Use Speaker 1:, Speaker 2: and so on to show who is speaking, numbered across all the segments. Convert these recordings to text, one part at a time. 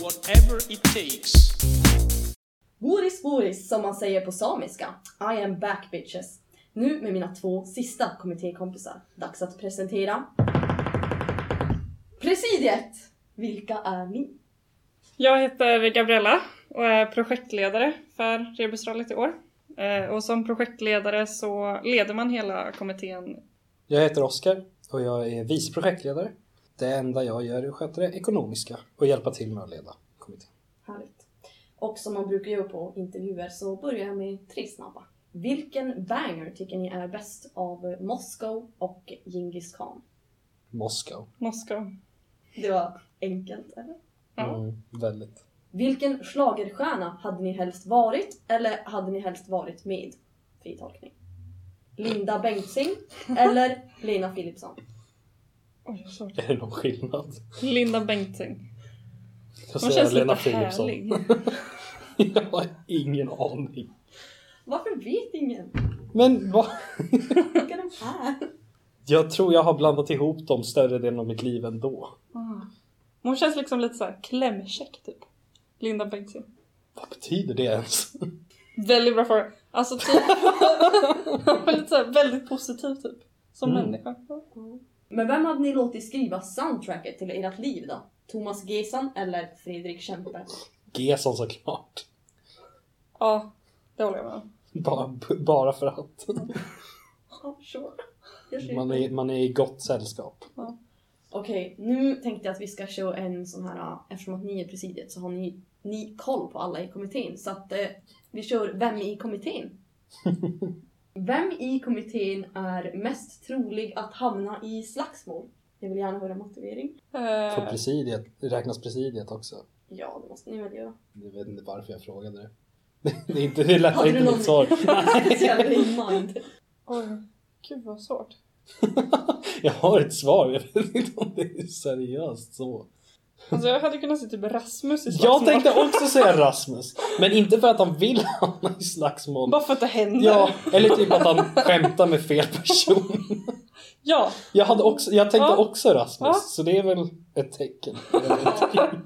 Speaker 1: whatever it takes.
Speaker 2: Boris Boris som man säger på samiska. I am back bitches. Nu med mina två sista kommittékompisar. Dags att presentera Presidiet! Vilka är ni?
Speaker 3: Jag heter Gabriella och är projektledare för Rebusrallyt i år. Eh, Och som projektledare så leder man hela kommittén.
Speaker 4: Jag heter Oskar och jag är vice projektledare. Det enda jag gör är att sköta det ekonomiska och hjälpa till med att leda kommittén.
Speaker 2: Härligt. Och som man brukar göra på intervjuer så börjar jag med tre snabba. Vilken banger tycker ni är bäst av Moskau och Genghis Khan?
Speaker 4: Moskau.
Speaker 3: Moskva.
Speaker 2: Det var enkelt, eller?
Speaker 3: Ja.
Speaker 4: Mm, väldigt.
Speaker 2: Vilken schlagerstjärna hade ni helst varit eller hade ni helst varit med? Fri tolkning. Linda Bengtzing eller Lena Philipsson?
Speaker 3: Oj, vad svårt.
Speaker 4: Är det någon skillnad?
Speaker 3: Linda Bengtzing. Hon
Speaker 4: Jag säger
Speaker 3: känns
Speaker 4: Lena
Speaker 3: lite
Speaker 4: Philipsson.
Speaker 3: härlig.
Speaker 4: Jag har ingen aning.
Speaker 2: Varför vet ingen?
Speaker 4: Men vad?
Speaker 2: Vilka de är?
Speaker 4: Jag tror jag har blandat ihop dem större delen av mitt liv ändå.
Speaker 3: Ah. Hon känns liksom lite så här klämkäck typ. Linda Bengtzing.
Speaker 4: Vad betyder det ens?
Speaker 3: Väldigt bra fråga. Alltså typ. Hon är lite så här väldigt positiv typ. Som
Speaker 4: Mm.
Speaker 3: människa.
Speaker 2: Men vem hade ni låtit skriva soundtracket till ert liv då? Thomas Gesson eller Fredrik Kempe?
Speaker 4: Gesson såklart.
Speaker 3: Ja, det håller jag med om.
Speaker 4: Bara, bara för att.
Speaker 2: Ja, sure. Jag ser
Speaker 4: Man
Speaker 2: det.
Speaker 4: är, man är i gott sällskap.
Speaker 2: Okej, nu tänkte jag att vi ska köra en sån här, ah, eftersom att ni är presidiet så har ni, ni koll på alla i kommittén. Så att eh, vi kör Vem i kommittén? Vem i kommittén är mest trolig att hamna i slagsmål? Jag vill gärna höra motivering.
Speaker 4: För
Speaker 3: Eh,
Speaker 4: presidiet, räknas presidiet också?
Speaker 2: Ja, det måste ni väl göra.
Speaker 4: Jag vet inte varför jag frågade det. Det är inte det lätta
Speaker 2: Hade du
Speaker 4: inte
Speaker 2: någon-
Speaker 4: mitt svar.
Speaker 2: Så jag hade in mind.
Speaker 3: oj, gud vad svårt.
Speaker 4: Jag har ett svar, men jag vet inte om det är seriöst så.
Speaker 3: Alltså jag hade kunnat se typ Rasmus i
Speaker 4: Jag
Speaker 3: slagsmål.
Speaker 4: tänkte också säga Rasmus, men inte för att han vill hamna i slagsmål.
Speaker 3: Bara för att det händer.
Speaker 4: Ja, eller typ att han skämtar med fel person.
Speaker 3: ja.
Speaker 4: Jag, hade också, jag tänkte
Speaker 3: Ja.
Speaker 4: också Rasmus,
Speaker 3: Ja.
Speaker 4: så det är väl ett tecken. Jag vet inte.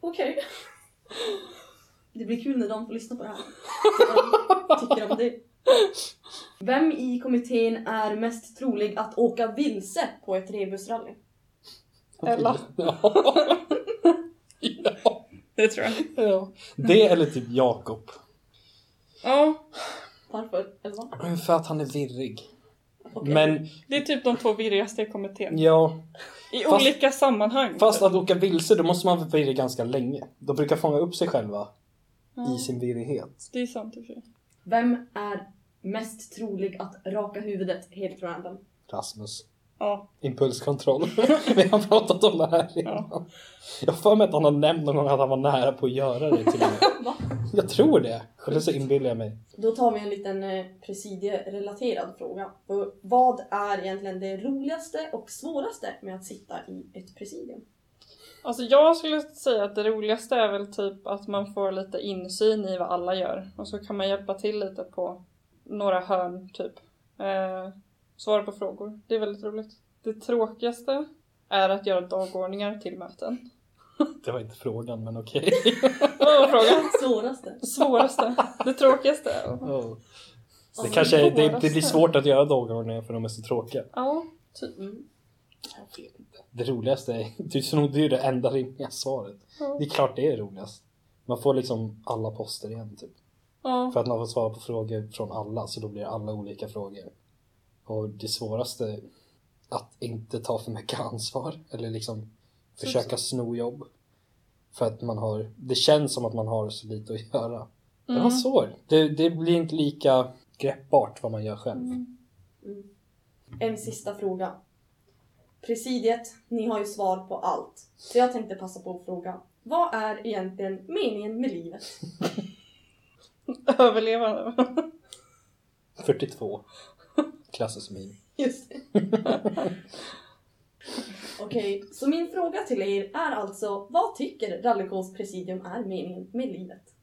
Speaker 2: Okej. Det blir kul när de får lyssna på det här. Vad de tycker om det. Vem i kommittén är mest trolig att åka vilse på ett rebusrally?
Speaker 3: Ella.
Speaker 4: Ja. Ja.
Speaker 3: Det tror jag.
Speaker 4: ja. Det eller typ Jakob.
Speaker 3: Ja,
Speaker 2: Varför? Eller vad?
Speaker 4: För att han är virrig.
Speaker 2: Okej.
Speaker 4: Men
Speaker 3: det är typ de två virrigaste i kommittén.
Speaker 4: ja,
Speaker 3: I
Speaker 4: Fast-
Speaker 3: olika sammanhang.
Speaker 4: Fast att åka vilse, då måste man vara virrig ganska länge. De brukar fånga upp sig själva
Speaker 3: Ja,
Speaker 4: i sin virrighet.
Speaker 3: Det är sant i och för sig.
Speaker 2: Vem är mest trolig att raka huvudet helt random?
Speaker 4: Rasmus.
Speaker 3: Ja.
Speaker 4: Impulskontroll. Vi har pratat om det här innan. Jag har för mig att han har nämnt någon gång att han var nära på att göra det till och med.
Speaker 2: Va?
Speaker 4: Jag tror det. Eller så inbillar jag mig.
Speaker 2: Då tar vi en liten eh, presidierelaterad fråga. För Vad är egentligen det roligaste och svåraste med att sitta i ett presidium?
Speaker 3: Alltså jag skulle säga att det roligaste är väl typ att man får lite insyn i vad alla gör. Och så kan man hjälpa till lite på några hörn typ. Eh, svara på frågor. Det är väldigt roligt. Det tråkigaste är att göra dagordningar till möten.
Speaker 4: Det var inte frågan, men okej.
Speaker 3: Vad var frågan?
Speaker 2: Svåraste?
Speaker 3: Svåraste? Det tråkigaste?
Speaker 4: Oh. Det
Speaker 2: Alltså,
Speaker 4: kanske är, det, det blir
Speaker 3: svåraste.
Speaker 4: svårt att göra dagordningar för de är så tråkiga.
Speaker 3: Ja.
Speaker 2: Mm.
Speaker 4: Jag vet inte. Det roligaste är, du snodde ju det enda rimliga svaret. Det är klart det är roligast. Man får liksom alla poster igen typ.
Speaker 3: ja.
Speaker 4: För att man får svara på frågor från alla så då blir det alla olika frågor. Och det svåraste är att inte ta för mycket ansvar eller liksom försöka sno jobb. För att man har, det känns som att man har så lite att göra. Det var
Speaker 3: Mm.
Speaker 4: svårt. Det, det blir inte lika greppbart vad man gör själv.
Speaker 3: Mm.
Speaker 2: En sista fråga. Presidiet, ni har ju svar på allt. Så jag tänkte passa på att fråga. Vad är egentligen meningen med livet?
Speaker 3: Överlevande.
Speaker 4: 42. Klassas som min.
Speaker 2: Just det. Okej, så min fråga till er är alltså vad tycker Rallycalls presidium är meningen med livet?